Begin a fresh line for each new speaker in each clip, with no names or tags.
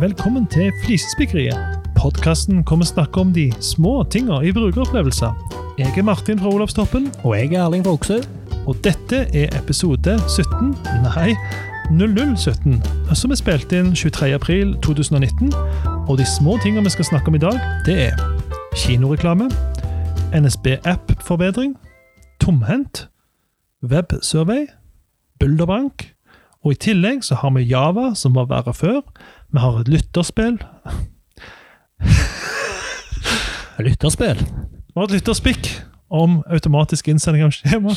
Velkommen til Flisespikkeriet. Podkasten kommer snakke om de små tinga i brukeropplevelser. Jeg er Martin fra Olavstoppen,
Og jeg er Erling fra Oksøy.
og dette er episode 17 Nei, 0017, som er spilt inn 23.4.2019. Og de små tinga vi skal snakke om i dag, det er kinoreklame, NSB-app-forbedring, tomhendt, websurvey, bulderbank, og i tillegg så har vi Java, som var verre før. Vi har et lytterspill.
Lytterspill.
Vi har et lytterspikk om automatisk innsending av skjema.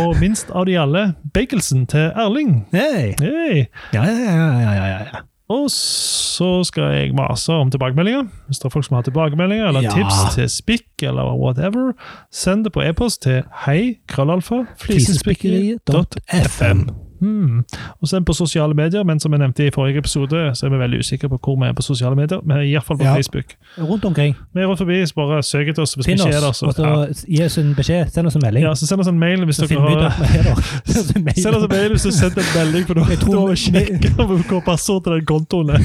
Og minst av de alle, bagelsen til Erling.
Hei!
Hei!
Ja, ja, ja, ja, ja, ja, ja.
Og så skal jeg mase om tilbakemeldinger. Hvis det er folk som har tilbakemeldinger eller
Ja.
tips til spikk eller whatever, send det på e-post til hei.krøllalfa.flisespikkeriet.fm.
Flisespikkeriet.fm.
Hmm. Og send på sosiale medier, men som jeg nevnte i forrige episode, så er vi veldig usikre på hvor vi er på sosiale medier, men iallfall på
Ja.
Facebook.
Rundt omkring.
Vi er rundt forbi, så bare søk etter oss hvis vi
Finn
ikke er der.
oss,
Så,
og så gi oss en beskjed. Send oss en melding.
ja. Ja, så send oss en mail hvis
så
dere
finner vi ut
har
at vi er der. Send oss en
Send oss en
mail.
mail hvis du sender en melding, for da
Jeg tror-
da må vi sjekke hvor passordet til den kontoen er.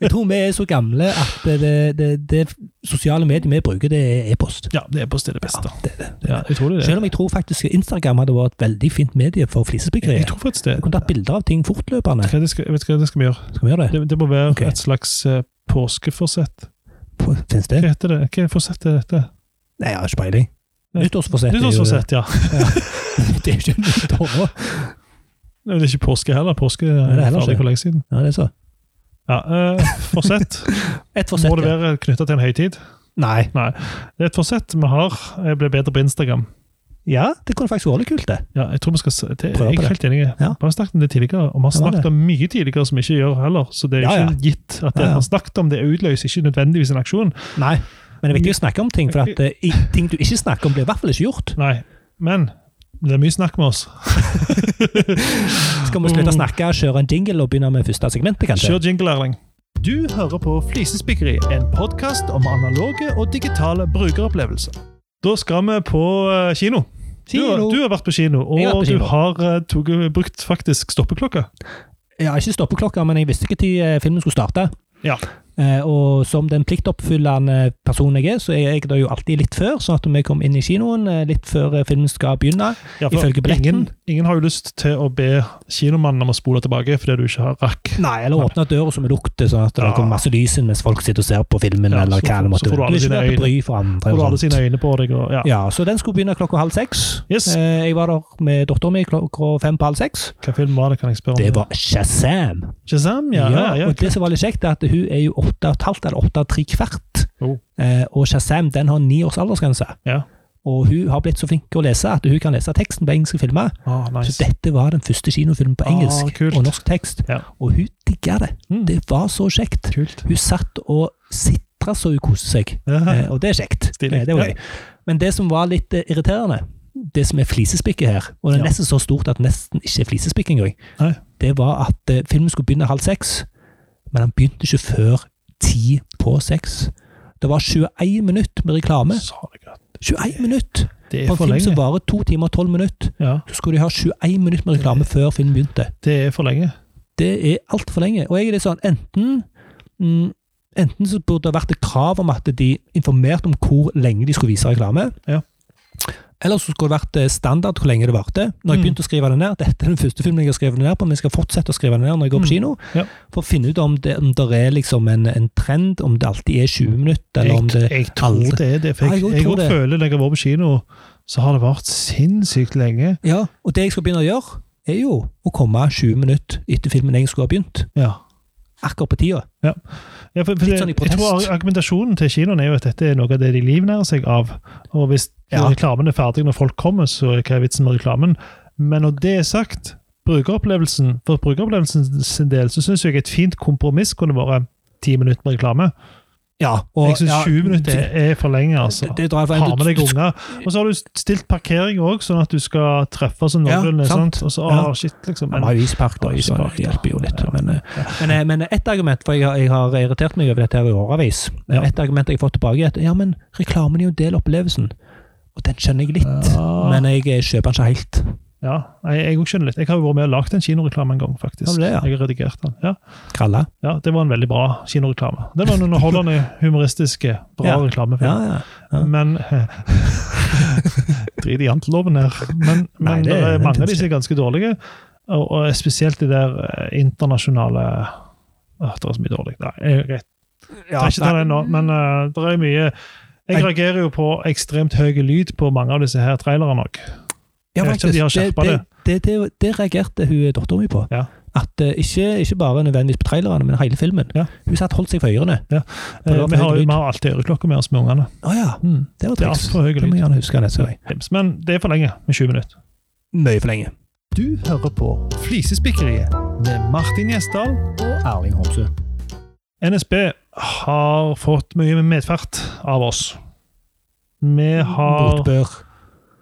Jeg tror vi er så gamle at det, det, det sosiale mediet vi bruker, det er e-post.
Ja, det er på stedet best, da.
det er det.
Ja, utrolig det.
Selv om jeg tror faktisk Instagram hadde vært et veldig fint medie for flisespikkeri.
Jeg tror faktisk det.
Du kunne tatt bilder av ting fortløpende.
Hva det skal, jeg vet ikke hva det skal vi gjøre.
Skal vi gjøre det?
Det, det må være
Ok.
et slags eh, påskeforsett.
På- Finnes det?
Hva heter det? Hva forsett er dette?
Nei, jeg har ikke peiling.
Nei.
Nyttårsforsett. er jo-
Nyttårsforsett, ja.
Det er jo ikke nyttår nå.
Nei, Det er ikke påske heller. Påske
det
er
er heller
ferdig
ikke.
for lenge siden.
Ja, det er så.
Ja, eh, Forsett
Et
må
forsett.
det
ja.
være knytta til en høytid.
Nei.
Det er et forsett vi har. Jeg ble bedre på Instagram.
Ja, det kunne faktisk vært litt kult, det.
Ja, jeg tror vi skal se. Det,
Prøve
jeg
på
er
det.
helt enig. Vi
Ja.
har snakket om det tidligere, og vi har
Ja, det er
snakket om mye tidligere som vi ikke gjør heller. Så det er
Ja,
ikke
ja.
gitt at det vi
Ja, ja.
har snakket om, det utløser ikke nødvendigvis en aksjon.
Nei. Men det er viktig å snakke om ting, for at, eh, i- ting du ikke snakker om, blir i hvert fall ikke gjort.
Nei, men det er mye snakk med oss.
Skal vi slutte å snakke, kjøre en jingle og begynne med første segmentet, kanskje?
Kjør jingle, Erling. Du hører på Flisespikkeri, en podkast om analoge og digitale brukeropplevelser. Da skal vi på eh, kino. Du, har-
Kino.
du har vært på kino, og
Jeg har vært på kino.
du har eh, tog- brukt faktisk stoppeklokka.
Jeg har ikke stoppeklokka, men jeg visste ikke når eh, filmen skulle starte.
Ja.
Eh, Og som den pliktoppfyllende personen jeg er, så er jeg da jo alltid litt før, sånn at vi kom inn i kinoen eh, litt før eh, filmen skal begynne.
Ja, for
Ifølge billetten.
Ingen, ingen har jo lyst til å be kinomannen om å spole tilbake fordi du ikke har rakk.
Nei, eller åpne døra som lukter, sånn at det
Ja.
kommer masse lys inn mens folk sitter og ser på filmen,
Ja,
eller
så
hva
får-
det måtte
så får du
være.
alle
Du er ikke
sine
der til
øyne.
bry for andre.
Og du har
og
alle
sånt.
sine øyne på deg. Og, ja.
Ja, så den skulle begynne klokka halv seks.
Yes.
Eh, Jeg var der med dattera mi klokka fem på halv seks.
Hva film var det, kan jeg spørre om?
Det var Shazam!
Shazam, ja. ja, ja.
Og det som var litt kjekt, er at hun er jo åtte og et halvt eller åtte og tre kvart.
Oh.
Eh, Og Shazam den har ni års aldersgrense.
Ja.
Og hun har blitt så flink å lese at hun kan lese teksten på engelske filmer.
Ah, nice.
Så dette var den første kinofilmen på
Ah,
engelsk
kult.
og norsk tekst.
Ja.
Og hun digga det.
Mm.
Det var så kjekt.
Kult.
Hun satt og sitra så hun koste seg. Eh, Og det er kjekt.
Stilig.
Eh, Det var
Ja.
gøy. Men det som var litt eh, irriterende, det som er flisespikket her, og det
Ja.
er nesten så stort at nesten ikke er flisespikk engang,
Nei.
det var at eh, filmen skulle begynne halv seks, men den begynte ikke før ti på seks. Det var 21 minutter med reklame.
Sa det godt.
21 minutter!
Det er
På en
for
film som
lenge.
varer to timer og tolv minutter,
Ja,
så skulle de ha 21 minutter med reklame før filmen begynte.
det er for lenge.
Det er altfor lenge. Og jeg er litt sånn, enten mm, Enten så burde det vært et krav om at de informerte om hvor lenge de skulle vise reklame.
Ja.
Eller så skulle det vært eh, standard hvor lenge det varte. Når jeg
Mm.
begynte å skrive det ned, Dette er den første filmen jeg har skrevet det ned på, men jeg skal fortsette å skrive det ned når jeg går på
Mm.
kino.
Ja.
For å finne ut om det, om det er liksom en, en trend, om det alltid er 20 minutter, eller om det
jeg, jeg tror
aldri-
det er det. For
Ja,
jeg,
jeg
jeg,
også tror
også
det.
føler når jeg har vært på kino, så har det vart sinnssykt lenge.
Ja, Og det jeg skal begynne å gjøre, er jo å komme 20 minutter etter filmen jeg skulle ha begynt.
Ja.
Akkurat på tida.
Ja, for, for
Litt
det,
sånn i
jeg tror
protest.
Argumentasjonen til kinoen er jo at dette er noe av det de livnærer seg av. Og hvis
Ja.
reklamen er ferdig når folk kommer, så hva er vitsen med reklamen? Men når det er sagt, brukeropplevelsen for brukeropplevelsen sin del, så syns jeg et fint kompromiss kunne vært ti minutter med reklame.
Ja, og,
jeg syns
ja,
20 minutter
det-
er for lenge, altså.
Det, det drar jeg for
Ha
en-
med deg unger. Og så har du stilt parkering òg, sånn at du skal treffe sånn
Ja,
noenlunde. sant?
sant.
Og så,
Ja.
å, shit, liksom.
Han har
Men,
jo ispark, da.
Ja,
så
ispark,
det
ja.
hjelper jo litt.
Ja.
Men, eh, men, eh, men et argument, for jeg har, jeg har irritert meg over dette her i årevis
Ja.
Et argument jeg har fått tilbake, er at ja, men reklamen er jo en del av opplevelsen. Og den skjønner jeg litt,
Ja.
men jeg eh, kjøper den ikke helt.
Ja, jeg, jeg også skjønner litt. Jeg har jo vært med og lagd en kinoreklame en gang, faktisk.
Har du det, ja?
Jeg har redigert den. Ja.
Kralla.
ja, det var en veldig bra kinoreklame. Det var en underholdende, humoristiske, bra
Ja.
reklamefilm.
Ja, ja. Ja.
Men Drit i janteloven her. Men, men
Nei, det-
det, er
den
mange av
finnes
disse er ganske dårlige. Og, og spesielt de der eh, internasjonale Åh, Det er så mye dårlig. Nei, jeg, jeg,
ja
trenger ikke ta den nå, men eh, det er mye Jeg
Jeg-
reagerer jo på ekstremt høy lyd på mange av disse her trailerne òg.
Ja,
Jeg vet ikke om de har
faktisk.
skjerpet det.
Det, det, det, det reagerte hun dattera mi på.
Ja.
At eh, ikke, ikke bare nødvendigvis på trailerne, men hele filmen.
Ja.
Hun satt holdt seg for ørene.
Eh, Vi,
det var for
har
høy
jo-
lyd.
vi har alltid øreklokker med oss med ungene.
Å ja,
Mm.
det var
Det er
triks.
altfor høy
Det må
lyd.
jeg gjerne huske neste gang.
Men det er for lenge med 20 minutter.
Mye for lenge.
Du hører på Flisespikkeriet med Martin Gjesdal
Og Erling Homsø.
NSB har fått mye medfart av oss. Vi har
Mm, Motbør.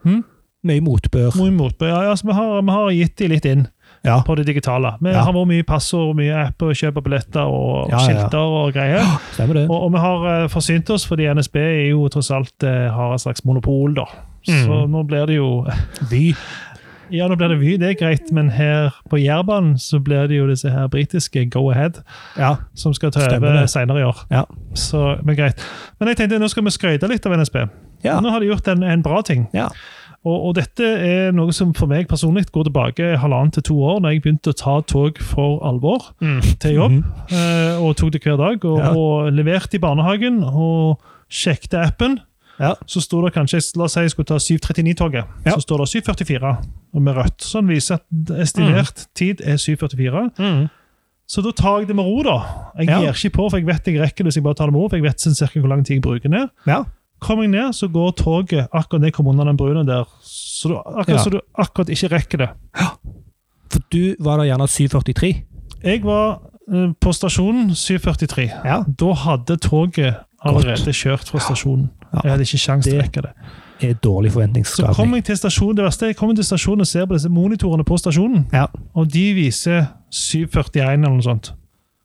Hm?
Mye motbør.
mye motbør. Ja, altså, vi, har, vi har gitt de litt inn
Ja.
på det digitale. Vi
Ja.
har vært mye passord, mye apper, kjøp av billetter og
Ja, ja, ja.
skilter og greier.
Stemmer det.
Og, og vi har eh, forsynt oss, fordi NSB er jo tross alt eh, har et slags monopol, da. Så
Mm.
nå blir det jo
Vy.
Ja, nå blir det Vy, det er greit, men her på Jærbanen så blir det jo disse her britiske Go Ahead.
Ja.
som skal ta
Stemmer
over
det.
senere i år.
Ja.
Så, men greit. Men jeg tenkte nå skal vi skryte litt av NSB.
Ja.
Nå har de gjort en, en bra ting.
Ja.
Og, og dette er noe som for meg personlig går tilbake halvannet til to år, da jeg begynte å ta tog for alvor til
Mhm.
jobb. eh, Og tok det hver dag. Og,
Mm. Ja.
og leverte i barnehagen og sjekket appen.
Ja.
Så sto det kanskje La oss si jeg skulle ta 739-toget.
Ja.
Så står det 744 og med rødt. Sånn viser at
Mm.
estimert tid er 744. Så da tar jeg det med ro, da. Jeg
Ja.
gir ikke på, for jeg vet jeg rekker det. hvis jeg bare tar det med ro, for jeg vet sånn cirka hvor lang tid jeg bruker ned.
Ja.
Kommer jeg ned, så går toget akkurat ned jeg kom under den brua der. Så du, akkurat,
Ja.
så du akkurat ikke rekker det.
For du var da gjerne 743.
Jeg var eh, på stasjonen 7.43.
Ja.
Da hadde toget allerede kjørt fra stasjonen.
Ja.
Jeg hadde ikke sjans til å
Det-
rekke det.
Er dårlig
Så kom
forventningsskapning.
jeg til stasjonen, det verste, jeg kom til stasjonen og ser på disse monitorene på stasjonen,
Ja.
og de viser 7.41 eller noe sånt.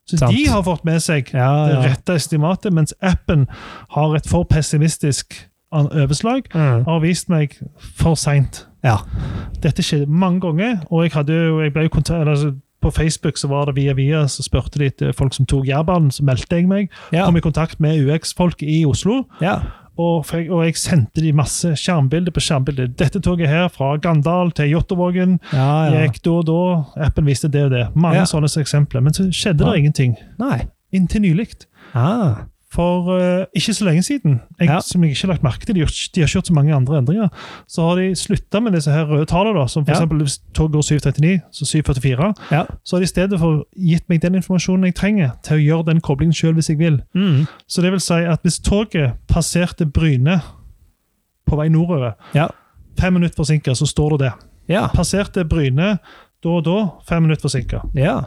Så
Sant.
de har fått med seg
Ja,
det
Ah, ja.
rette estimatet, mens appen har et for pessimistisk an- overslag. Har vist meg for seint.
Ja.
Dette skjedde mange ganger, og jeg, hadde, jo- jeg ble jo kontakt, eller, altså, på Facebook så var det via via, så spurte de etter folk som tok Jærbanen. Så meldte jeg meg.
Ja.
Kom i kontakt med UX-folk i Oslo,
ja.
og, f- og jeg sendte de masse skjermbilder på skjermbilder. Dette toget her, fra Gandal til Jåttåvågen,
ja, ja.
gikk da og da. Appen viste det og det. Mange
Ja.
sånne eksempler. Men så skjedde
Ja.
det ingenting.
Nei.
Inntil nylig.
Ah.
For eh, ikke så lenge siden, jeg,
Ja.
som jeg ikke har lagt merke til, de har, ikke- de har ikke gjort så mange andre endringer, så har de slutta med disse her røde tallene, da, som
Ja.
f.eks. hvis tog går 739, så 744.
Ja.
Så har de i stedet for gitt meg den informasjonen jeg trenger til å gjøre den koblingen sjøl hvis jeg vil. Så det vil si at hvis toget passerte Bryne på vei nordover,
Ja. Ah.
fem minutter forsinka, så står det det.
Ja.
Passerte Bryne da og da, fem minutter forsinka.
Ja.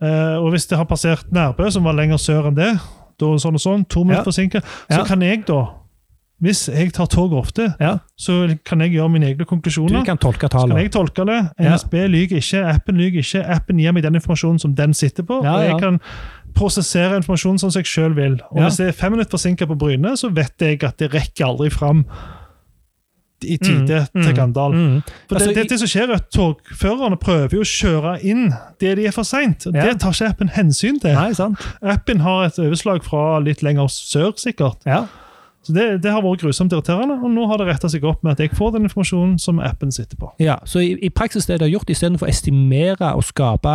Eh, og hvis det har passert Nærbø, som var lenger sør enn det, da sånn og sånn, to minutter
Ja.
forsinket, så
Ja.
kan jeg da, hvis jeg tar tog ofte,
ja.
så kan jeg gjøre mine egne
Du
konklusjoner.
kan tolke
Så kan
tallene.
jeg tolke det.
Ja.
NSB lyger ikke, appen lyger ikke. Appen gir meg den informasjonen som den sitter på.
Ja,
og jeg
ja.
kan prosessere informasjonen som jeg sjøl vil. Og
Ja.
hvis det er fem minutter forsinket på Bryne, så vet jeg at det rekker aldri fram i tide
Mm, mm,
til Gandal.
Mm.
For
Altså,
det, det, det som skjer er at Togførerne prøver jo å kjøre inn det de er for seint.
Ja.
Det tar ikke appen hensyn til.
Nei, sant?
Appen har et overslag fra litt lenger sør, sikkert.
Ja.
Så Det, det har vært grusomt irriterende, og nå har det retta seg opp med at jeg får den informasjonen som appen sitter på.
ja. Så i, i praksis det de har gjort, istedenfor å estimere og skape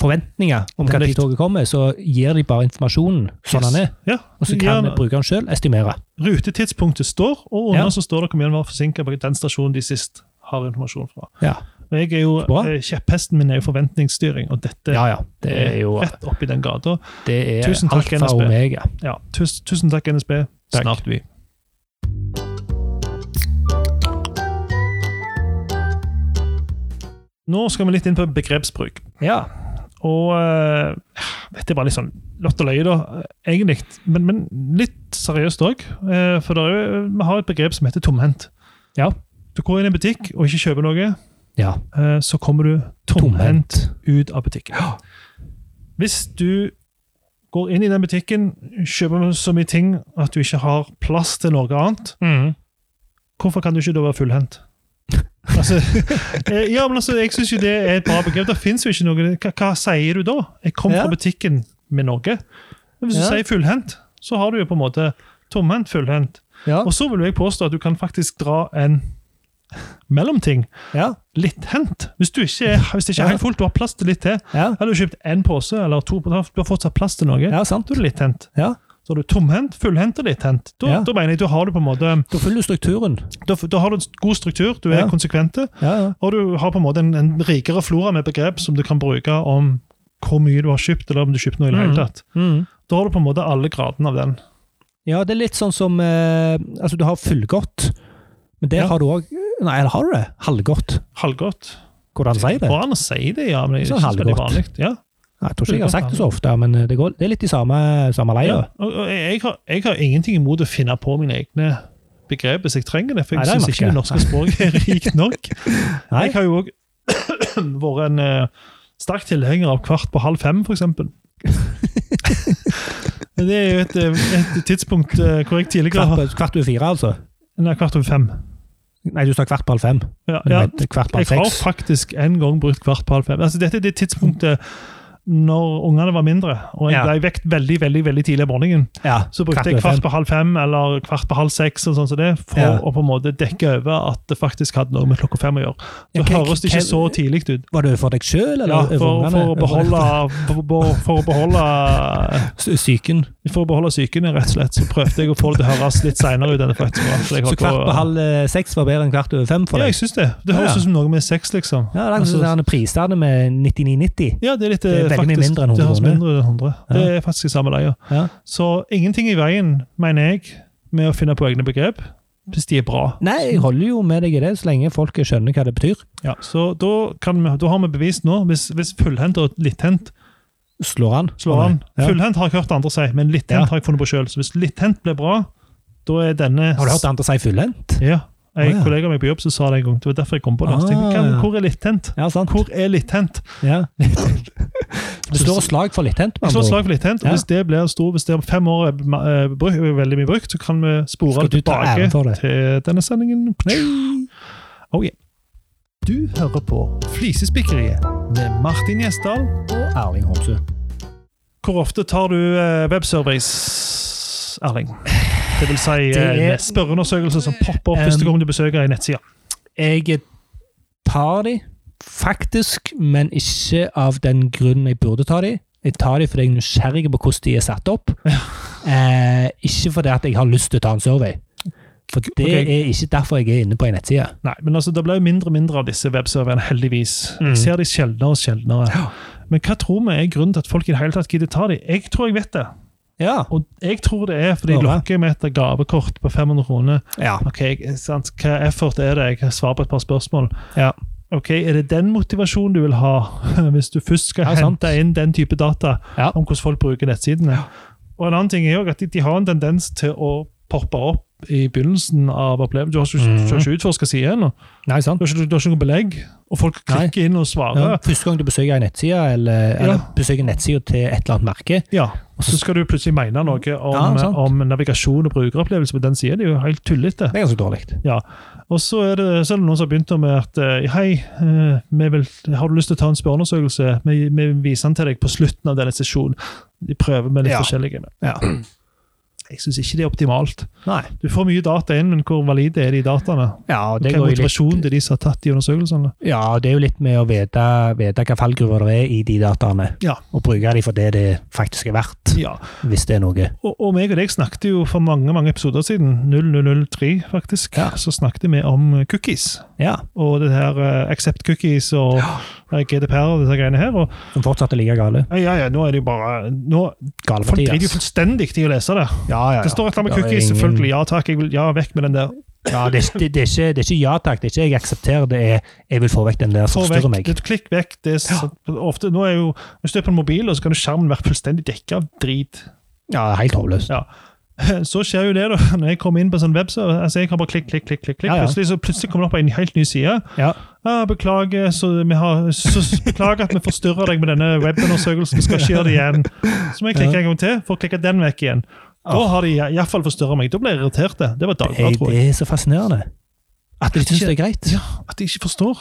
forventninger om hva
Nemlig.
tid toget kommer, så gir de bare informasjonen sånn den er.
Ja,
Og så kan
gjerne.
brukeren sjøl estimere.
Rutetidspunktet står, og under
Ja.
så står det hvor mye den var forsinka på den stasjonen de sist har informasjon fra.
Ja.
Og jeg er jo,
Bra.
eh, Kjepphesten min er jo forventningsstyring, og dette
ja, ja. Det er jo
rett oppi den gata.
det er
Tusen takk,
alfa og
NSB.
omega.
Ja, tusen, tusen takk, NSB.
Takk.
Snart vi. Nå skal vi litt inn på begrepsbruk.
Ja.
Og eh, dette er bare litt sånn lott og løye, da, egentlig. Men, men litt seriøst òg. for det er jo, vi har et begrep som heter tomhendt.
Ja.
Du går inn i en butikk og ikke kjøper noe,
ja.
eh, så kommer du tomhendt
Tomhendt.
ut av butikken. Hvis du går inn i den butikken, kjøper så mye ting Mm. at du ikke har plass til noe annet, hvorfor kan du ikke da være fullhendt? Altså, eh, ja, men altså, jeg syns jo det er et bra begrep. Det fins jo ikke noe hva, hva sier du da? Jeg kom
Ja.
fra butikken med noe. Men hvis du
Ja.
sier fullhendt, så har du jo på en måte tomhendt, fullhendt.
Ja.
Og så vil jeg påstå at du kan faktisk dra en mellomting.
ja.
Litt hendt. Hvis, du ikke er, hvis det ikke
Ja.
er helt fullt, du har plass til litt til.
ja.
Har du kjøpt én pose eller to, på- du har fortsatt plass til noe.
Ja, sant.
Da er du litt hendt.
Ja.
Så har du tomhendt, fullhendt og litt hendt. Da,
Ja.
da mener jeg da har du på en måte
Da følger du strukturen.
da, da har du en god struktur, du er
Ja.
konsekvente.
Ja, ja.
Og du har på en måte en, en rikere flora med begrep som du kan bruke om hvor mye du har kjøpt, eller om du kjøpte noe i det hele
Mhm.
tatt. Da har du på en måte alle gradene av den.
Ja, det er litt sånn som eh, Altså, du har fullgodt, men der
Ja.
har du òg Nei, eller har du det? Halvgodt.
Halvgodt.
Går det an å si det?
Går an å si det, ja. Men det er
Sånn
ikke så veldig
halvgodt.
vanlig. Ja.
Nei, jeg tror ikke jeg har sagt det så ofte, men eh, det, går, det er litt i samme, samme leia.
Ja. Og, og jeg, har, jeg har ingenting imot å finne på mine egne begrep hvis jeg trenger det, for
Nei,
jeg
det
syns
merker
ikke
jeg.
det norske språket er rikt nok.
Nei.
Jeg har jo òg vært en eh, sterk tilhenger av kvart på halv fem, f.eks. Det er jo et, eh, et tidspunkt eh, hvor jeg tidligere
Kvart,
har
på, kvart over fire, altså.
Nei, kvart over fem.
Nei, du sa kvart på halv fem.
Ja,
Men
ja.
du mente Kvart på
Jeg
halv
har
seks.
faktisk en gang brukt kvart på halv fem. Altså, dette er det tidspunktet når ungene var mindre, og jeg
Ja.
ble vekt veldig veldig, veldig tidlig om morgenen.
Ja,
Så brukte jeg
over
kvart
fem.
på halv fem eller kvart på halv seks og sånn som det, for
Ja.
å på en måte dekke over at det faktisk hadde noe med klokka fem å gjøre.
Ja,
Det
hva-
høres det
hva-
ikke så tidlig ut.
Var det for deg sjøl,
Ja,
eller
for, for, å beholde, for, for- for å beholde eh,
Psyken.
For å beholde psyken, rett og slett, så prøvde jeg å få det til å høres litt seinere ut enn det faktisk var. for jeg
Så
holdt
kvart
på-
på halv eh, seks var bedre enn kvart over fem for
Ja, jeg
deg?
syns det. Det høres
Ja, ja.
ut som noe med sex, liksom.
Ja, det er
Altså-
sånn at han priser det med 99,90.
Ja, det er litt
Det er
eh,
veldig mye
faktisk-
mindre enn
Det høres
100
mindre enn 100. Det er faktisk i samme leie.
Ja.
Så ingenting i veien, mener jeg, med å finne på egne begrep, hvis de er bra.
Nei, jeg holder jo med deg i det, så lenge folk skjønner hva det betyr.
Ja, så da, kan vi, da har vi bevist nå, hvis, hvis fullhendt og litthendt
Slår han?
slår an
Ja.
Fullhendt har jeg hørt andre si, men litthendt
Ja.
har jeg funnet på sjøl. Så hvis litthendt blir bra, da er denne
Har du hørt andre si fullendt?
Ja. En
Å, ja.
kollega av meg på jobb som sa det en gang. Det var derfor jeg kom på det.
Ah.
Jeg tenkte, "Hva- Hvor er litthendt?
Ja, sant.
Hvor er litthendt?
Ja. Det står slag for litthendt,
Jeg
med
slår et
andre ord.
slag for litthendt. og
Ja.
Hvis det blir stor, hvis det om fem år er eh, brukt, er veldig mye brukt, så kan vi spore
Skal
det
du ta
tilbake
æren for det?
til denne sendingen. Oh, yeah. Du hører på Flisespikkeriet med Martin Gjesdal.
Erling Homsø.
Hvor ofte tar du eh, webservice, Erling? Det vil si
Det er-
eh, en spørreundersøkelse som popper opp første
Um,
gang du besøker en nettside.
Jeg tar de, faktisk, men ikke av den grunnen jeg burde ta de. Jeg tar de fordi jeg er nysgjerrig på hvordan de er satt opp. Eh, ikke fordi at jeg har lyst til å ta en survey. For det
Ok.
er ikke derfor jeg er inne på en nettside.
Nei, men altså, Det blir jo mindre og mindre av disse webserverne, heldigvis.
Mm.
Jeg ser de sjeldnere og sjeldnere.
Ja.
Men hva tror vi er grunnen til at folk i det hele tatt gidder ta de? Jeg tror jeg vet det.
Ja.
Og jeg tror det er fordi de
Hva?
lokker med et gavekort på 500 kroner.
ja.
Ok, jeg- sant? Hva effort er det? Jeg kan svare på et par spørsmål.
Ja.
Ok, Er det den motivasjonen du vil ha, hvis du først skal
Ja, sant.
hente inn den type data
Ja.
om hvordan folk bruker nettsidene? Og en annen ting er jo at de, de har en tendens til å poppe opp i begynnelsen av opplevelsen. Du har ikke,
Mhm.
du har ikke utforska sida ennå.
Nei, sant?
Du har ikke, du har ikke noe belegg, og folk
Nei.
klikker inn og svarer.
Ja. Første gang du besøker en nettside, eller, eller besøker nettsida til et eller annet merke,
Ja. Og så skal du plutselig mene noe om,
Ja, sant.
om navigasjon og brukeropplevelse på den sida. Det er jo helt tullete.
det er ganske dårlig.
Ja. Og så er det, så er det noen som har begynt med at eh, Hei, eh, vi vil, har du lyst til å ta en spørreundersøkelse? Vi, vi viser den til deg på slutten av denne sesjonen. De prøver med litt
Ja.
forskjellige.
Ja.
Jeg syns ikke det er optimalt.
Nei.
Du får mye data inn, men hvor valide er de dataene?
Ja,
Hva
det
er
går jo litt
motivasjonen til de som har tatt de undersøkelsene?
Ja, det er jo litt med å vite, vite hva fallgruver det er i de dataene,
Ja.
og bruke de for det det faktisk er verdt,
Ja.
hvis det er noe.
Og, og meg og deg snakket jo for mange mange episoder siden, 0003 faktisk,
Ja.
så snakket vi om cookies.
Ja,
Og det her eh, accept cookies og eh, GDPR og disse greiene her. Og,
Som fortsatt er like gale.
ja, ja, nå er det jo bare nå,
Gale
Folk
for
driter jo
Mathias.
fullstendig i å lese det.
Ja, ja, ja.
Det står et eller annet med
Ja, det er
cookies,
ingen-
selvfølgelig. Ja takk, jeg vil, ja, vekk med den der.
Ja, det, er- det, det, er ikke, det er ikke ja takk, det er ikke jeg aksepterer, det er jeg vil få vekk den der som
Få
forstyrrer
vekk.
meg.
Det- Klikk vekk. Det er så, ofte, nå er jo, hvis du er på en mobil, og så kan jo skjermen være fullstendig dekka av drit.
Ja, helt håpløst.
Ja. Så skjer jo det, da. Når jeg kommer inn på en sånn webserver, altså jeg kan bare klikk, klikk, klikk, klikk, klikk.
Ja, ja.
Plutselig, så plutselig kommer det opp en helt ny side.
Ja.
Ja, beklager, så vi har, så s- beklager at vi forstyrrer deg med denne webundersøkelsen. Vi skal ikke gjøre det igjen. Så må jeg klikke en gang til, for å klikke den vekk igjen. Da har de iallfall forstyrra meg. Da ble jeg irritert. Det var
Det, er-
dagbladet, tror jeg.
det er så fascinerende. At de syns det er greit.
Ja. At de ikke forstår.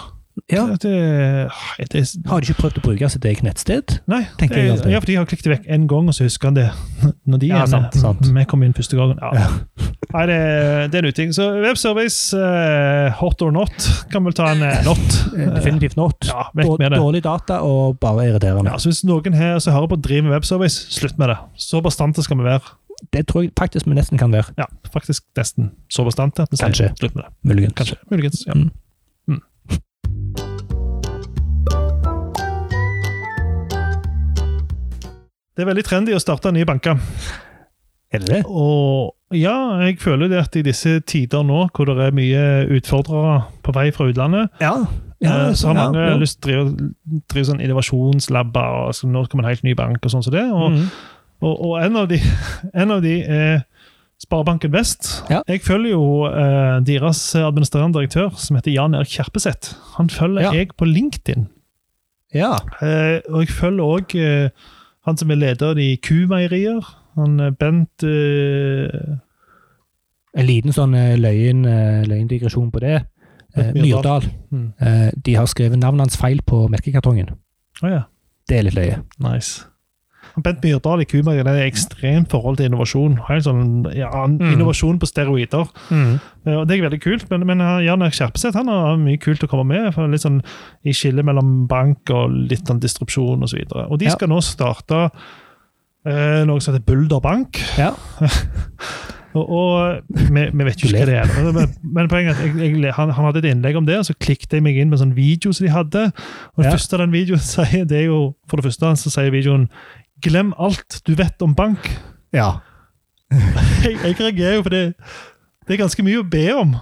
Ja.
At det, det, det
Har de ikke prøvd å bruke sitt eget nettsted?
Nei, det,
Tenker jeg alltid.
ja, for de har klikket det vekk én gang, og så husker han det. Når de
Ja,
er
sant,
med.
sant.
Vi kom inn første gangen. Ja. Nei, det, det er en uting. Så webservice, eh, hot or not, kan vel ta en eh, not.
Eh, Definitivt not.
Ja, vekk med det.
Dårlig data og bare irriterende.
Ja, så hvis noen her som hører på driver med webservice, slutt med det. Så bastante skal vi være.
Det tror jeg faktisk vi nesten kan være.
Ja, faktisk nesten så bastante at vi sier
Kanskje.
slutt med det.
Muligens.
Kanskje. Muligens. ja.
Mm.
Mm. Det er veldig trendy å starte nye banker.
Er det det?
Og ja, jeg føler det at i disse tider nå, hvor det er mye utfordrere på vei fra utlandet,
Ja.
eh, så har mange
ja.
lyst til å drive, drive sånn innovasjonslabber, og så nå kommer en helt ny bank og sånn som det. Og,
Mm.
og, og en, av de, en av de er Sparebanken Vest.
Ja.
Jeg følger jo eh, deres administrerende direktør, som heter Jan Erik Kjerpeseth. Han følger
Ja.
jeg på LinkedIn.
ja.
Eh, og jeg følger òg eh, han som er leder i Kumeierier. Han eh, Bent eh,
En liten sånn eh, løyen, eh, løyendigresjon på det. Eh,
Myrdal.
Myrdal.
Mm.
Eh, de har skrevet navnet hans feil på melkekartongen.
Å ja.
Det er litt løye.
Nice. Bent Myrdal i Kuma det er ekstremt forhold til innovasjon. Helt sånn, ja, han-
Mm.
Innovasjon på steroider. Eh, Og Det er veldig kult, men, men eh, Jan Erik Kjerpeseth han har mye kult å komme med. for litt sånn I skillet mellom bank og litt sånn distrupsjon osv. Og de
Ja.
skal nå starte eh, noe som heter Bulder Bank.
Ja.
og og vi, vi vet jo ikke hva det er. Men, men poenget er at jeg, jeg, han, han hadde et innlegg om det, og så klikket jeg meg inn med en sånn video som de hadde. Og det
Ja.
første den videoen sier, det er jo For det første så sier videoen 'Glem alt du vet om bank'.
Ja.
Jeg, jeg reagerer jo på det. Det er ganske mye å be om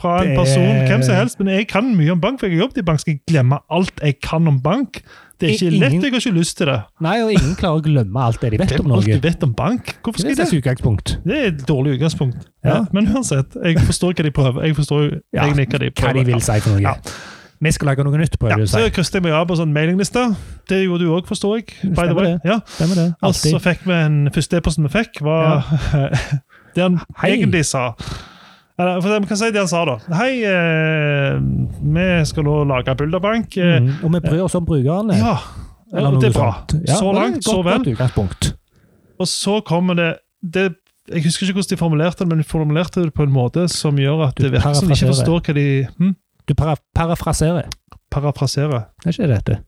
fra en
Det-
person, hvem som helst. Men jeg kan mye om bank, for jeg har jobbet i bank. Skal jeg glemme alt jeg kan om bank? Det er ikke
Ingen-
lett, jeg har ikke lyst til det.
Nei, og ingen klarer å glemme alt det de vet om
Glem alt du
Norge.
vet om bank. Hvorfor
Det
skal
er et
jeg det?
utgangspunkt.
Det er et dårlig utgangspunkt.
Ja.
Ja, men uansett, jeg forstår hva de prøver. Jeg forstår jo
Ja,
egentlig hva de
Hva
prøver.
de vil si for noe.
Ja.
Vi skal lage noe nytt,
Ja,
prøver du å
så
si.
krysset jeg meg av på sånn mailingliste. Det gjorde du òg, forstår jeg. By the
Stemmer
way.
det.
Ja.
Stemmer det.
Og så
Alltid.
fikk vi en første e-posten vi fikk, var det han
Hei.
egentlig sa. Eller, for Vi kan si det han sa, da. Hei, eh, vi skal nå lage Bulderbank. Eh,
Mm. Og vi bryr oss om brukerne.
Ja,
eller
og
noe
det er bra.
sånt. Ja,
så
og det er
langt,
et
så
godt-
vel.
Godt utgangspunkt.
Og så kommer det, det Jeg husker ikke hvordan de formulerte det, men de formulerte det på en måte som gjør at
Du
det virker som de ikke
parafraserer.
forstår hva de hm,
Du para parafraserer.
parafraserer.
Det er ikke dette.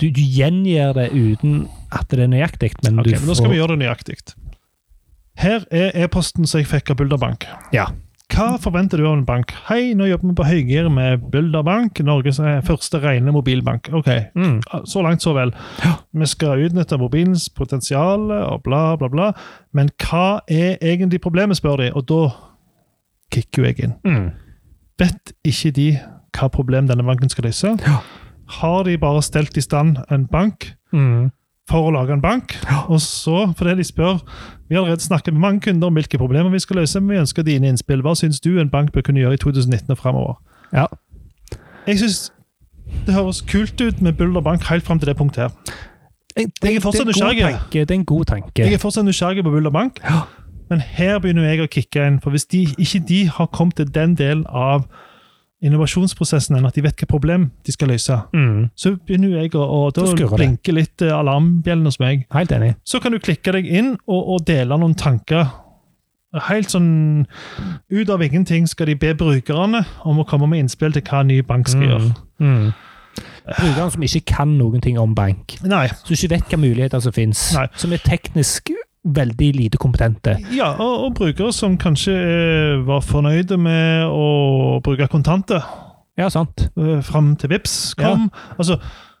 Du, du gjengir det uten at det er nøyaktig, men
Ok,
du
men Nå skal vi gjøre det nøyaktig. Her er e-posten som jeg fikk av Bulderbank.
Ja.
Hva forventer du av en bank? Hei, nå jobber vi på høygir med Bulderbank, Norges eh, første rene mobilbank. Ok, ah,
Mm.
så langt så vel. Vi skal utnytte mobilens potensial og bla, bla, bla. Men hva er egentlig problemet, spør de, og da kicker jo jeg inn.
Mm.
Vet ikke de hva problem denne banken skal løse?
Ja.
Har de bare stelt i stand en bank?
Mm.
for å lage en bank. Og så, fordi de spør Vi har allerede snakket med mange kunder om hvilke problemer vi skal løse, men vi ønsker dine innspill. Hva syns du en bank bør kunne gjøre i 2019 og fremover?
Ja.
Jeg syns det høres kult ut med Bulder Bank helt fram til det punktet her. Jeg er fortsatt
det en god
nysgjerrig.
tanke, Det er en god tanke.
Jeg er fortsatt nysgjerrig på Bulder Bank,
Ja.
men her begynner jeg å kicke inn. For hvis de, ikke de har kommet til den delen av innovasjonsprosessen enn at de vet hvilket problem de skal løse,
Mm.
så begynner jeg å og da
Så skurrer det.
blinke litt eh, alarmbjellen hos meg.
Helt enig.
så kan du klikke deg inn og, og dele noen tanker. Helt sånn Ut av ingenting skal de be brukerne om å komme med innspill til hva en ny bank skal gjøre.
Mm. Brukeren som ikke kan noen ting om bank,
Nei.
som ikke vet hva muligheter som finnes,
Nei.
som er teknisk veldig lite kompetente.
Ja, og, og brukere som kanskje eh, var fornøyde med å bruke kontanter
Ja, sant.
eh, fram til Vips kom. Altså,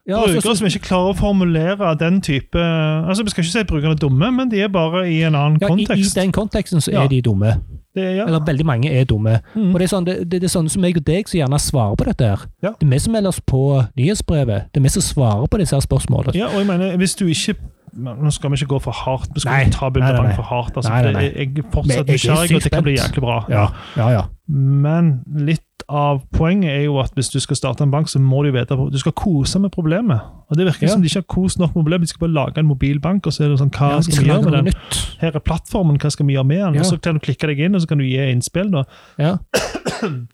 Ja,
brukere
altså,
som ikke klarer å formulere den type Altså, Vi skal ikke si at brukerne er dumme, men de er bare i en annen
ja, i, I
kontekst.
den konteksten så
Ja.
er de dumme.
Det, ja.
Eller veldig mange er dumme.
Mm.
Og Det er sånn, det, det det er sånne som meg og deg som gjerne svarer på dette. her.
Ja.
Det er vi som melder oss på nyhetsbrevet. Det er vi som svarer på disse her spørsmålene.
Ja, og jeg mener, hvis du ikke Nå skal vi ikke gå for hardt. Vi skal
Nei,
ikke ta bildet
nei, nei,
av
nei.
for hardt. Altså,
Nei, nei, nei.
Jeg, jeg er fortsatt
Men jeg er
nysgjerrig,
sykt
og det kan bli
spent.
jæklig bra.
ja, ja. ja.
Men litt av poenget er jo at hvis du skal starte en bank, så må du vite at du skal kose med problemet. Og det virker
Ja.
som de ikke har kost nok med problemet. De skal bare lage en mobilbank, og så er det sånn, hva
Ja, de
skal vi
lage
gjøre med
noe
den?
nytt.
Her er plattformen, hva skal vi gjøre med den?
Ja.
Og så kan du klikke deg inn, og så kan du gi innspill. Da.
Ja.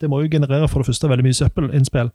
Det må jo generere for det første veldig mye søppelinnspill.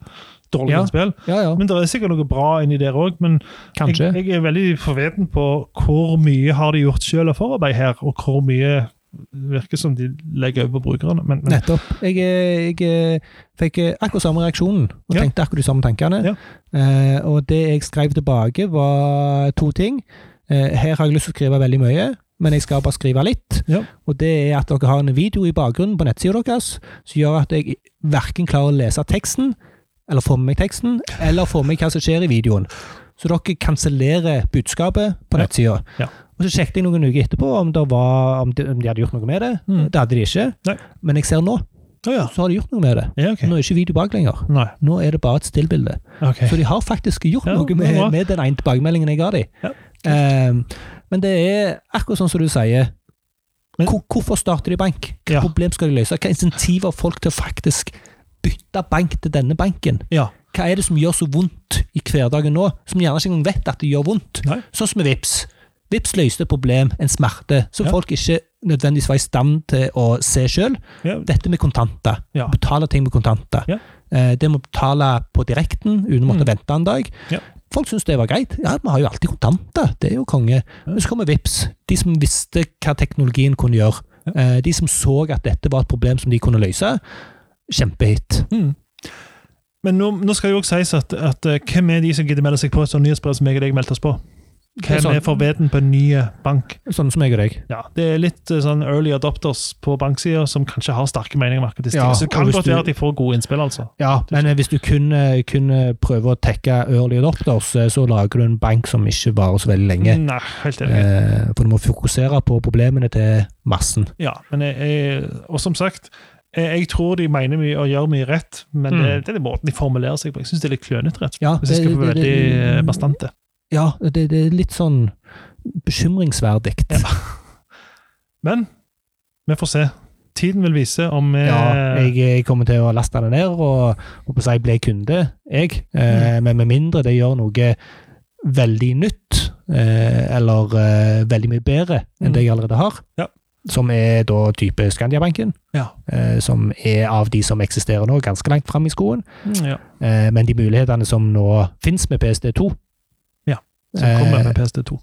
Dårlige
Ja.
innspill.
Ja, ja.
Men det er sikkert noe bra inni der òg. Men
Kanskje.
jeg, jeg er veldig forveten på hvor mye har de gjort selv av forarbeid her, og hvor mye virker som de legger over på brukerne. Men, men
Nettopp. Jeg, eh, jeg eh, fikk eh, akkurat samme reaksjonen, og
Ja.
tenkte akkurat de samme tankene.
Ja.
Eh, og det jeg skrev tilbake, var to ting. Eh, her har jeg lyst til å skrive veldig mye, men jeg skal bare skrive litt.
Ja.
Og det er at dere har en video i bakgrunnen på nettsida deres som gjør at jeg verken klarer å lese teksten, eller få med meg teksten, eller få med meg hva som skjer i videoen. Så dere kansellerer budskapet på
Ja.
nettsida.
Ja.
Og så sjekket jeg noen uker etterpå om, det var, om, de, om de hadde gjort noe med det.
Mm.
Det hadde de ikke.
Nei.
Men jeg ser nå,
Å ja.
så har de gjort noe med det.
ja ok.
Nå er ikke video bak lenger.
Nei.
Nå er det bare et stillbilde.
ok.
Så de har faktisk gjort
Eh. Ja, det
noe
er
med,
bra.
med den ene tilbakemeldingen jeg ga dem. Ehm,
Ja.
men det er akkurat sånn som du sier.
Men-
Hvor- Hvorfor starter de bank? Hva
Ja.
problem skal de løse? Hva insentiver har folk til å faktisk bytte bank til denne banken?
Ja.
Hva er det som gjør så vondt i hverdagen nå, som gjerne ikke engang vet at det gjør vondt?
Nei.
Sånn som med VIPS. VIPS løste et problem, en smerte, som
Ja.
folk ikke nødvendigvis var i stand til å se sjøl.
Ja.
Dette med kontanter.
Ja.
Betale ting med kontanter.
Ja.
Eh, Det med å betale på direkten uten å måtte vente en dag.
Ja.
Folk syntes det var greit. Ja, vi har jo alltid kontanter, det er jo konge. Men så kommer VIPS. De som visste hva teknologien kunne gjøre. Eh, De som så at dette var et problem som de kunne løse. Kjempehit.
Mm. Men nå, nå skal det jo også sies at, at eh, hvem er de som gidder melde seg på et sånt nyhetsbrev som jeg og deg meldte oss på?
Det er
Hvem
sånn-
er forveten på en ny bank?
Sånne Sånn som jeg og deg.
Ja, Det er litt eh, sånn early adopters på banksider som kanskje har sterke meninger om akkurat disse
Ja,
tingene. Så det
og
kan
hvis
godt
du-
være at de får gode innspill, altså.
Ja, men eh, hvis du kun, kun eh, prøver å tekke early adopters, eh, så lager du en bank som ikke varer så veldig lenge.
Nei, helt enig.
Eh, For du må fokusere på problemene til massen.
Ja, men jeg, jeg, og som sagt, jeg, jeg tror de mener mye og gjør mye rett, men
Mm.
det, det er den måten de formulerer seg på. Jeg syns det er litt klønete, rett og slett.
Ja,
Hvis jeg skal være veldig eh,
det-
bastante.
ja, det, det er litt sånn bekymringsverdig.
Men vi får se. Tiden vil vise om eh, vi
Ja, jeg, jeg kommer til å laste det ned og håper jeg blir kunde, jeg. Eh,
Mm.
Men med mindre det gjør noe veldig nytt, eh, eller eh, veldig mye bedre enn det jeg allerede har,
Mm. Ja.
som er da type Skandiabanken,
Ja.
eh, som er av de som eksisterer nå, ganske langt fram i skoen,
Mm, ja.
eh, men de mulighetene som nå finnes med PSD2
Som kommer
Eh,
med PSD2.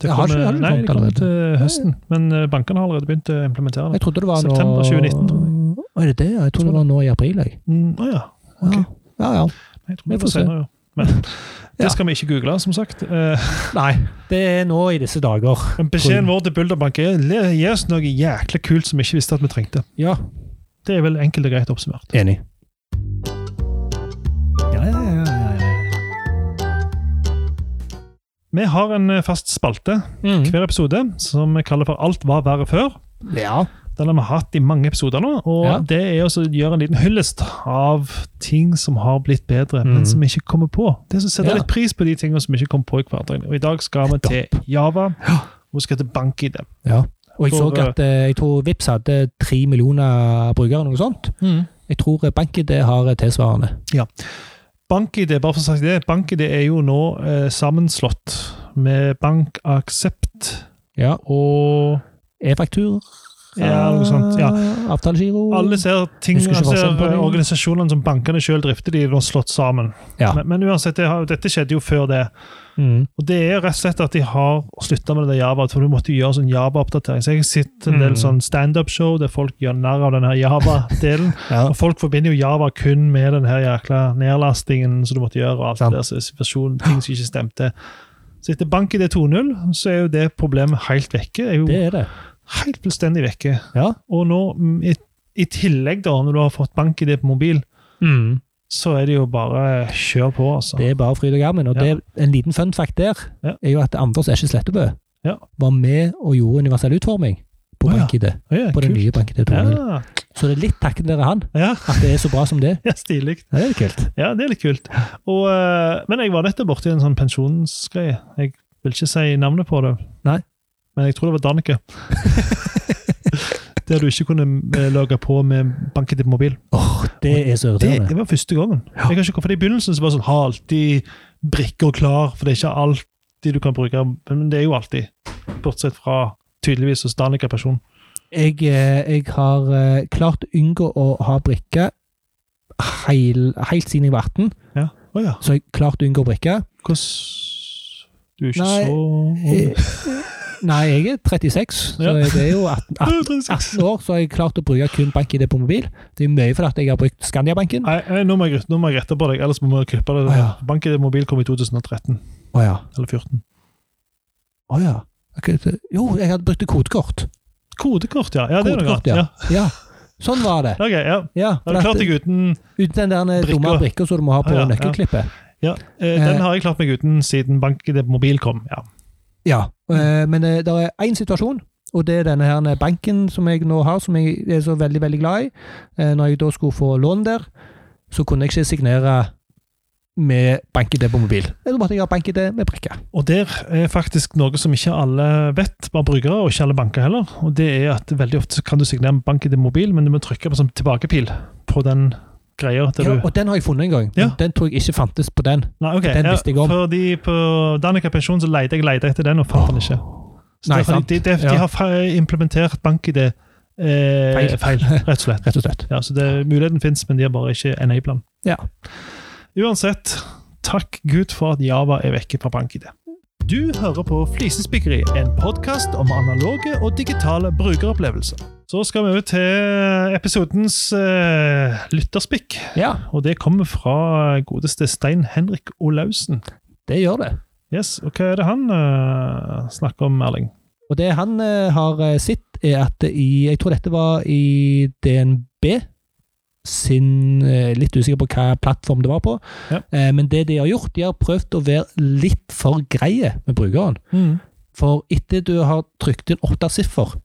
Det
jeg har ikke-
kommer,
jeg har ikke
nei,
kommet
det kommer
allerede.
til høsten, men eh, bankene har allerede begynt å implementere det.
Jeg trodde det var
September
nå
2019, tror
Å, Er det det? Ja, Jeg trodde
Tror
det var nå i april, jeg.
Mm, å ja. Ok.
Ja. Ja, ja.
Jeg tror
Vi
det
får
var
se.
senere, ja. Men
Ja.
det skal vi ikke google, som sagt. Eh,
Nei, det er nå i disse dager.
Men beskjeden vår til Bulderbank er le- gi oss noe jækla kult som vi ikke visste at vi trengte.
Ja,
Det er vel enkelt og greit oppsummert.
enig.
Vi har en eh, fast spalte
Mm.
hver episode som vi kaller for Alt var verre før.
Ja.
Den har vi hatt i mange episoder nå, og
Ja.
det er også å gjøre en liten hyllest av ting som har blitt bedre,
Mhm.
men som vi ikke kommer på. Det er å sette
Ja.
litt pris på de tingene som vi ikke kommer på i hverdagen. Og i dag skal vi til Java, og vi skal til BankID.
ja. Og jeg så
For, eh,
at eh, jeg tror Vips hadde tre millioner brukere, noe sånt. Jeg tror eh, BankID har eh, tilsvarende.
BankID, bare for å sagt det, BankID er jo nå eh, sammenslått med BankAksept
Ja.
og
E-faktur. eh,
Ja, noe sånt, ja.
Avtalegiro.
Alle ser ting,
Mm. Husker ikke
alle
forskjellen på
ser eh,
de.
organisasjonene som bankene sjøl drifter, de er nå slått sammen.
Ja.
Men, men uansett, det har, dette skjedde jo før det.
Mm.
Og det er rett og slett at de har slutta med det der Java, for du måtte jo gjøre sånn Java-oppdatering. Så jeg har sett en del
Mm.
sånn standup-show der folk gjør narr av den her Java-delen.
Ja.
og folk forbinder jo Java kun med den her jækla nedlastingen som du måtte gjøre, og alt
Sant.
det der, så situasjonen, ting som ikke stemte. Så etter BankID 2.0 så er jo det problemet helt vekke. Er jo
Det er det.
helt fullstendig vekke.
Ja.
Og nå, mm, i, i tillegg da, når du har fått bank-ID på mobil,
Mm.
så er det jo bare kjør på, altså.
Det er bare fryd og gammen. Og
Ja.
det er en liten fun fact der
Ja.
er jo at Anders Esje Slettebø
Ja.
var med og gjorde universell utforming på
Å, ja.
BankID.
Å ja,
På den
kult.
nye BankID 2.0.
Ja,
Så det er litt takket være han
ja,
at det er så bra som det. er.
ja stilig.
Ja, Det er kult.
Ja, det er litt kult. Og, eh, men jeg var nettopp borti en sånn pensjonsgreie. Jeg vil ikke si navnet på det,
Nei.
men jeg tror det var Dannike. Der du ikke kunne eh, logge på med bank-ID på mobil.
Åh, det er så
Det,
irriterende.
det var første gangen.
Ja.
Jeg kan ikke, for I begynnelsen så var det sånn, ha alltid brikker klar, for det er ikke alltid du kan bruke Men det er jo alltid. Bortsett fra tydeligvis hos Danica person.
jeg, eh, jeg har eh, klart å unngå å ha brikke heil, helt siden jeg var 18.
Ja. Å ja.
Så jeg klarte å unngå brikke.
Hvordan Du er ikke
Nei,
så
eh, Nei, jeg er 36, så
Ja.
det er jo 18, 18,
Å, 36.
18 år, så har jeg klart å bruke kun BankID på mobil. Det er mye fordi at jeg har brukt Skandiabanken.
Nei, nei, nå må jeg nå må jeg rette på deg, ellers må vi klippe det.
Å ja.
Bank i mobil kom i 2013
Å ja.
eller 14.
Å ja. Ok, det- Jo, jeg hadde brukt kode-kort.
Kodekort, ja. ja det er noe
Kodekort,
annet. Ja.
Ja, sånn var det.
Ok, ja.
Ja,
Har du klart deg uten
Uten den der eh, dumme
Brikka.
brikka som du må ha på
Ja, ja.
nøkkelklippet.
ja, eh, Den har jeg klart meg uten siden BankID mobil kom. ja.
Ja,
Mm.
eh, men det er én situasjon, og det er denne her eh, banken som jeg nå har, som jeg er så veldig veldig glad i. Eh, Når jeg da skulle få lån der, så kunne jeg ikke signere med bank-ID på mobil. Da måtte jeg ha bank-ID med brikke.
Og der er faktisk noe som ikke alle vet, bare brukere, og ikke alle banker heller. Og det er at veldig ofte så kan du signere med BankID mobil, men du må trykke på sånn tilbakepil på den greia. Der
Ja,
du,
og den har jeg funnet en gang. men
Ja.
Den tror jeg ikke fantes på den.
nei, ok,
den visste jeg om.
Fordi på Danica Pensjon så leide jeg leide etter den, og fant den ikke. Så
Nei,
derfor-
sant.
De, de, de,
Ja.
har fe- implementert BankID eh, feil.
Feil.
rett og slett.
Rett og slett.
Ja, så det, Muligheten fins, men de har bare ikke enabla den.
Ja.
Uansett, takk Gud for at Java er vekke fra BankID. Du hører på Flisespikkeri, en podkast om analoge og digitale brukeropplevelser. Så skal vi ut til episodens eh, lytterspikk,
Ja,
og det kommer fra godeste Stein Henrik Olaussen.
det gjør det.
Yes, og Hva er det han eh, snakker om, Erling?
Og det han eh, har eh, sett, er at i Jeg tror dette var i DNB sin eh, Litt usikker på hva plattform det var på.
Ja.
Eh, Men det de har gjort, de har prøvd å være litt for greie med brukeren. For etter du har trykt inn åtte siffer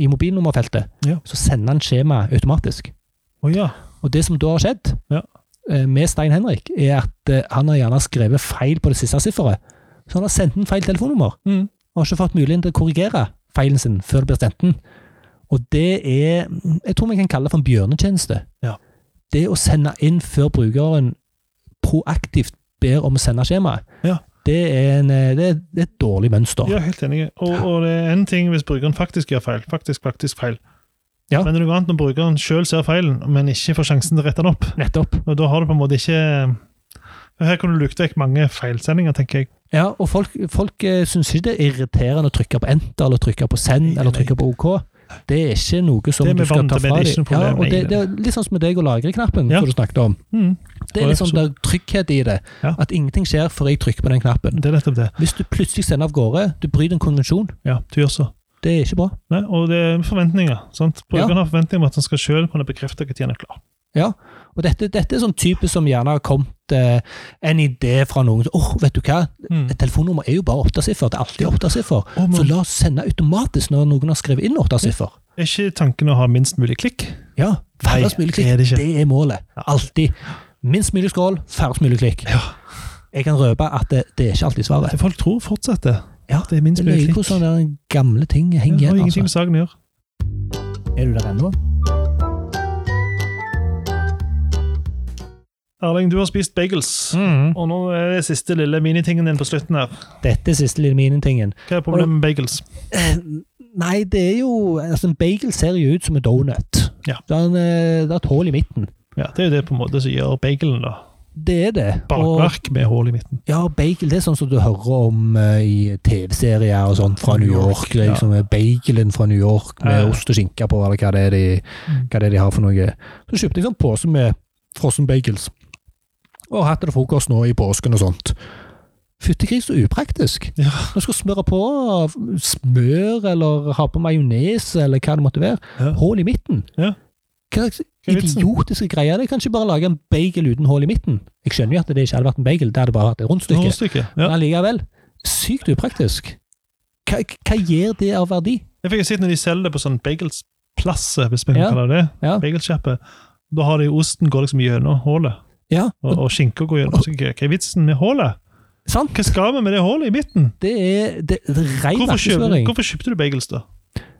i mobilnummerfeltet,
Ja.
så sender han skjema automatisk.
Å ja.
Og det som da har skjedd
Ja.
eh, med Stein Henrik, er at eh, han har gjerne skrevet feil på det siste sifferet. Så han har sendt inn feil telefonnummer
Mm.
og har ikke fått muligheten til å korrigere feilen sin før det blir sendt den. Og det er Jeg tror vi kan kalle det for en bjørnetjeneste.
Ja.
Det å sende inn før brukeren proaktivt ber om å sende skjemaet,
Ja.
det, er en, eh, det, er- det er et dårlig mønster.
Ja, helt enig. Og, og det er én ting hvis brukeren faktisk gjør feil. Faktisk, faktisk feil.
Ja.
Men det er noe annet når brukeren sjøl ser feilen, men ikke får sjansen til å rette den opp.
Nettopp.
Og da har du på en måte ikke Her kunne du lukt vekk mange feilsendinger, tenker jeg.
Ja, og folk, folk eh, syns ikke det er irriterende å trykke på enter, eller trykke på send,
Nei,
eller
nei.
trykke på ok. Det er ikke noe som
Det er
du
vi
skal
vant
ta
til, men det
fra
er ikke
dem.
noe problem.
Ja, og
Nei,
det, det er litt sånn som med deg og lagreknappen,
Ja.
som du snakket om.
Mm,
Det er
Ja,
liksom
absolutt.
der trygghet i det.
Ja.
At ingenting skjer før jeg trykker på den knappen.
det er nettopp det.
Hvis du plutselig sender av gårde, du bryter en konvensjon.
Ja, du gjør så.
Det er ikke bra.
Nei, og det er forventninger. sant? Brukeren har forventninger om at han skal sjøl kunne bekrefte når han er klar.
Og dette, dette er sånn type som gjerne har kommet eh, en idé fra noen. Åh, vet du hva?
Mm.
Et telefonnummer er jo bare åtte siffer. Det er alltid åtte siffer.
Og
Så
man,
la oss sende automatisk når noen har skrevet inn åtte siffer.
er ikke tanken å ha minst mulig klikk?
Ja, færrest
Nei,
mulig
det er det ikke.
klikk. Det er målet. Alltid. Minst mulig scroll, færrest mulig klikk.
Ja.
Jeg kan røpe at det, det er ikke alltid svaret.
Det folk tror fortsatt det.
Ja,
At det er minst
Det
mulig
løy
klikk.
hvordan den gamle ting
Ja,
sånn henger
det har
igjen.
ingenting med
Altså.
saken å gjøre.
Er du der ennå?
Erling, du har spist bagels.
Mm.
Og nå er det siste lille minitingen din på slutten her.
Dette er siste lille minitingen.
Hva er problemet med bagels?
Eh, Nei, det er jo altså En bagel ser jo ut som en donut.
Ja.
Det er en, eh, det er et hull i midten.
Ja, Det er jo det på en måte som gjør bagelen, da.
Det er det. Og,
Bakverk med hull i midten.
ja, bagel det er sånn som du hører om eh, i TV-serier og sånt fra New York.
Ja. Eh.
Liksom, eh, Bagelen fra New York med
Ja.
ost og skinke på, eller hva det er de,
Mm.
hva det er de har for noe. Så kjøpte jeg en sånn pose med frossen bagels. Og har hatt det til frokost nå i påsken og sånt. Fytti gris, så upraktisk.
Ja.
Når du skal smøre på smør, eller ha på majones, eller hva det måtte være.
Ja.
Hull i midten.
Ja.
Hva slags
er vitsen?
idiotiske greier er det? Kan ikke bare lage en bagel uten hull i midten? Jeg skjønner jo at det ikke hadde vært en bagel, det hadde bare vært et rundt stykke.
Rundstykke. Ja.
Men allikevel, sykt upraktisk. Hva, hva gir det av verdi?
Jeg fikk jo sett når de selger det på sånn bagelsplasse, hvis man kan
Ja.
kalle det det.
Ja.
Bagelsjappe. Da har de osten går liksom gjennom hullet,
Ja,
og, og skinka går gjennom. Så Hva er vitsen med hullet?
sant?
Hva skal vi med det hullet i midten?
Det er, det, det er ren
Hvorfor kjøpte,
markedsføring.
hvorfor kjøpte du bagels, da?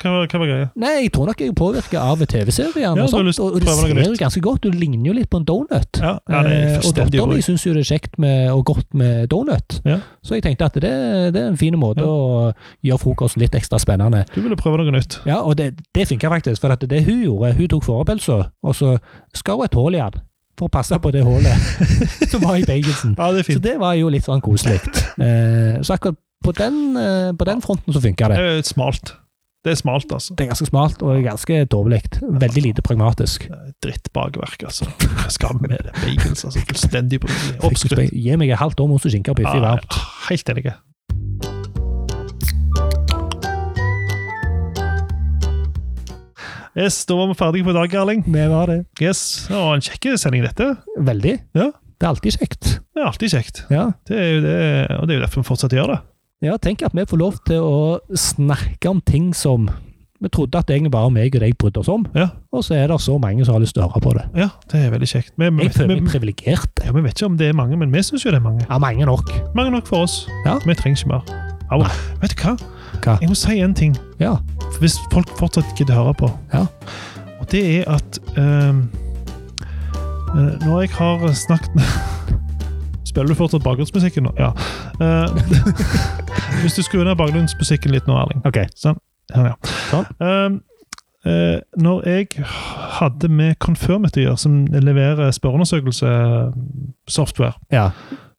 Hva, hva var greia?
Nei, jeg tror nok jeg er påvirket av TV-serien.
Ja,
og
du har
sånt,
lyst til å
og det
prøve noe
ser jo
nytt.
ganske godt. Du ligner jo litt på en donut.
Ja, ja det
Eh,
er
og
fullstendig
datteren min
rolig.
syns jo det er kjekt med, og godt med donut.
Ja.
Så jeg tenkte at det, det er en fin måte
Ja.
å gjøre frokosten litt ekstra spennende.
Du ville prøve noe nytt.
Ja, og det, det funka faktisk, for at det hun gjorde, hun tok fårepølsa, og så skar hun et hull i den. For å passe på det hullet som var i bagelsen.
Ja, det er
Så
fint.
det var jo litt sånn koselig. Eh, så akkurat på den, eh, på den fronten så funka
Det
det.
er smalt. Det er smalt, altså.
Det er ganske smalt og ganske dårlig. Veldig lite pragmatisk.
Drittbakverk, altså. Skam med det. Bagels, altså. Fullstendig brutelig. Oppskrytt.
Gi meg et halvt år med ost og skinke og piffi
Ja,
varmt.
Helt enig. Yes, da var vi ferdige for i dag, Erling.
Vi var det.
Yes, det var En kjekk sending, dette.
Veldig.
Ja.
Det er alltid kjekt.
Det er alltid kjekt.
Ja.
Det er jo det, og det er jo derfor vi fortsatt gjør det.
Ja, tenk at vi får lov til å snakke om ting som vi trodde at egentlig bare meg og deg brydde oss om,
Ja.
og så er det så mange som har lyst til å høre på det.
Ja, det er veldig kjekt. Vi, vi,
Jeg føler meg
vi,
privilegert.
ja, vi vet ikke om det er mange, men vi syns jo det er mange.
Ja, mange nok.
Mange nok for oss.
Ja.
Vi trenger ikke mer. Au.
Nei.
Vet du hva?
Hva?
Jeg må si en ting,
Ja.
hvis folk fortsatt gidder høre på.
Ja.
Og det er at ehm, eh, Når jeg har snakket Spiller du fortsatt bakgrunnsmusikken nå? Ja. Eh, hvis du skrur ned bakgrunnsmusikken litt nå, Erling
Ok.
Sånn, ja.
Sånn.
Ehm, eh, når jeg hadde med Confirmit å gjøre, som leverer spørreundersøkelse-software,
Ja.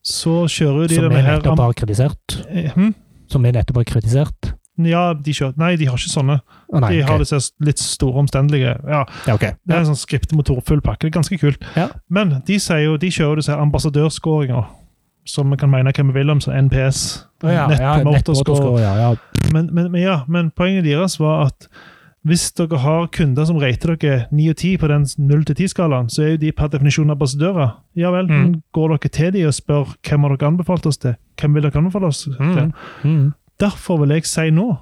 så kjører jo de
Som vi
denne her
nettopp har kritisert.
Eh, hm?
Som vi nettopp har kritisert.
Ja, de kjører Nei, de har ikke sånne.
Å nei,
De har
ok.
disse litt store, omstendelige Ja,
Ja, ok.
det er en sånn skriptmotor, full pakke. Det er ganske kult.
Ja.
Men de, sier jo, de kjører jo disse ambassadørskåringer, som vi kan mene hva vi vil om, som NPS.
Å ja,
Net
ja,
Promoter
nettopp
Score.
score, ja, ja.
Men, men, men ja, men poenget deres var at hvis dere har kunder som rater dere 9 og 10 på den 0-10-skalaen, så er jo de per definisjon ambassadører. Ja vel,
Mm.
men går dere til de og spør hvem har dere anbefalt oss til? Hvem vil dere anbefale oss til?
Mm. Mm.
Derfor vil jeg si nå,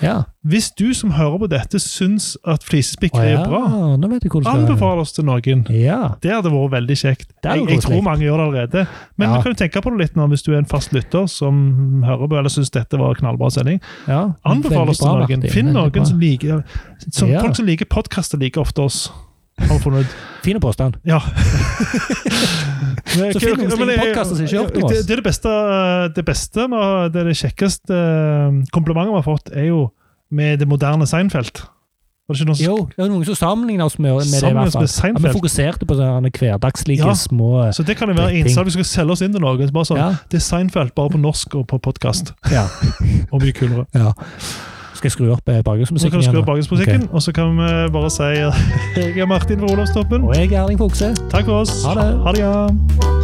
Ja.
hvis du som hører på dette syns at
Å
flisespikkeri
ja,
er bra,
nå vet jeg hvor du skal.
anbefal oss til noen.
Ja.
Det hadde vært veldig kjekt.
Det hadde
Jeg,
vært
jeg
koselig.
tror mange gjør det allerede. Men
Ja.
du kan jo tenke på det litt nå, hvis du er en fast lytter som hører på eller syns dette var knallbra sending.
ja.
Anbefales til
Veldig bra,
noen.
Martin.
Finn
Veldig bra.
noen som liker som
Ja.
Folk som liker podkaster, liker ofte oss. Har vi funnet ut.
Fin påstand.
Ja.
Så finn noen som liker podcaster som ikke har hørt om
det,
oss.
det er det beste, det beste og det, er det kjekkeste eh, komplimentet vi har fått, er jo med det moderne Seinfeld. Var det ikke noe som
Jo, det er noen som sammenligner oss med, med det. i
Sammenligner
hvert
oss med
fall. Ja, vi
Seinfeld.
fokuserte på sånne hverdagslige
Ja.
små
Så det kan jo være
Ting.
innsalg hvis vi skal selge oss inn til noen. så Bare sånn,
ja,
Det er Seinfeld, bare på norsk og på podkast.
ja,
Og mye kulere.
ja. Skal jeg skru opp eh,
Så
bakgrunnsmusikken
kan du skru
igjen?
opp
nå?
bakgrunnsmusikken, og så kan vi bare si at jeg er Martin fra Olavstoppen.
Og jeg er Erling Fokse.
Takk for oss.
Ha det.
Ha det ja.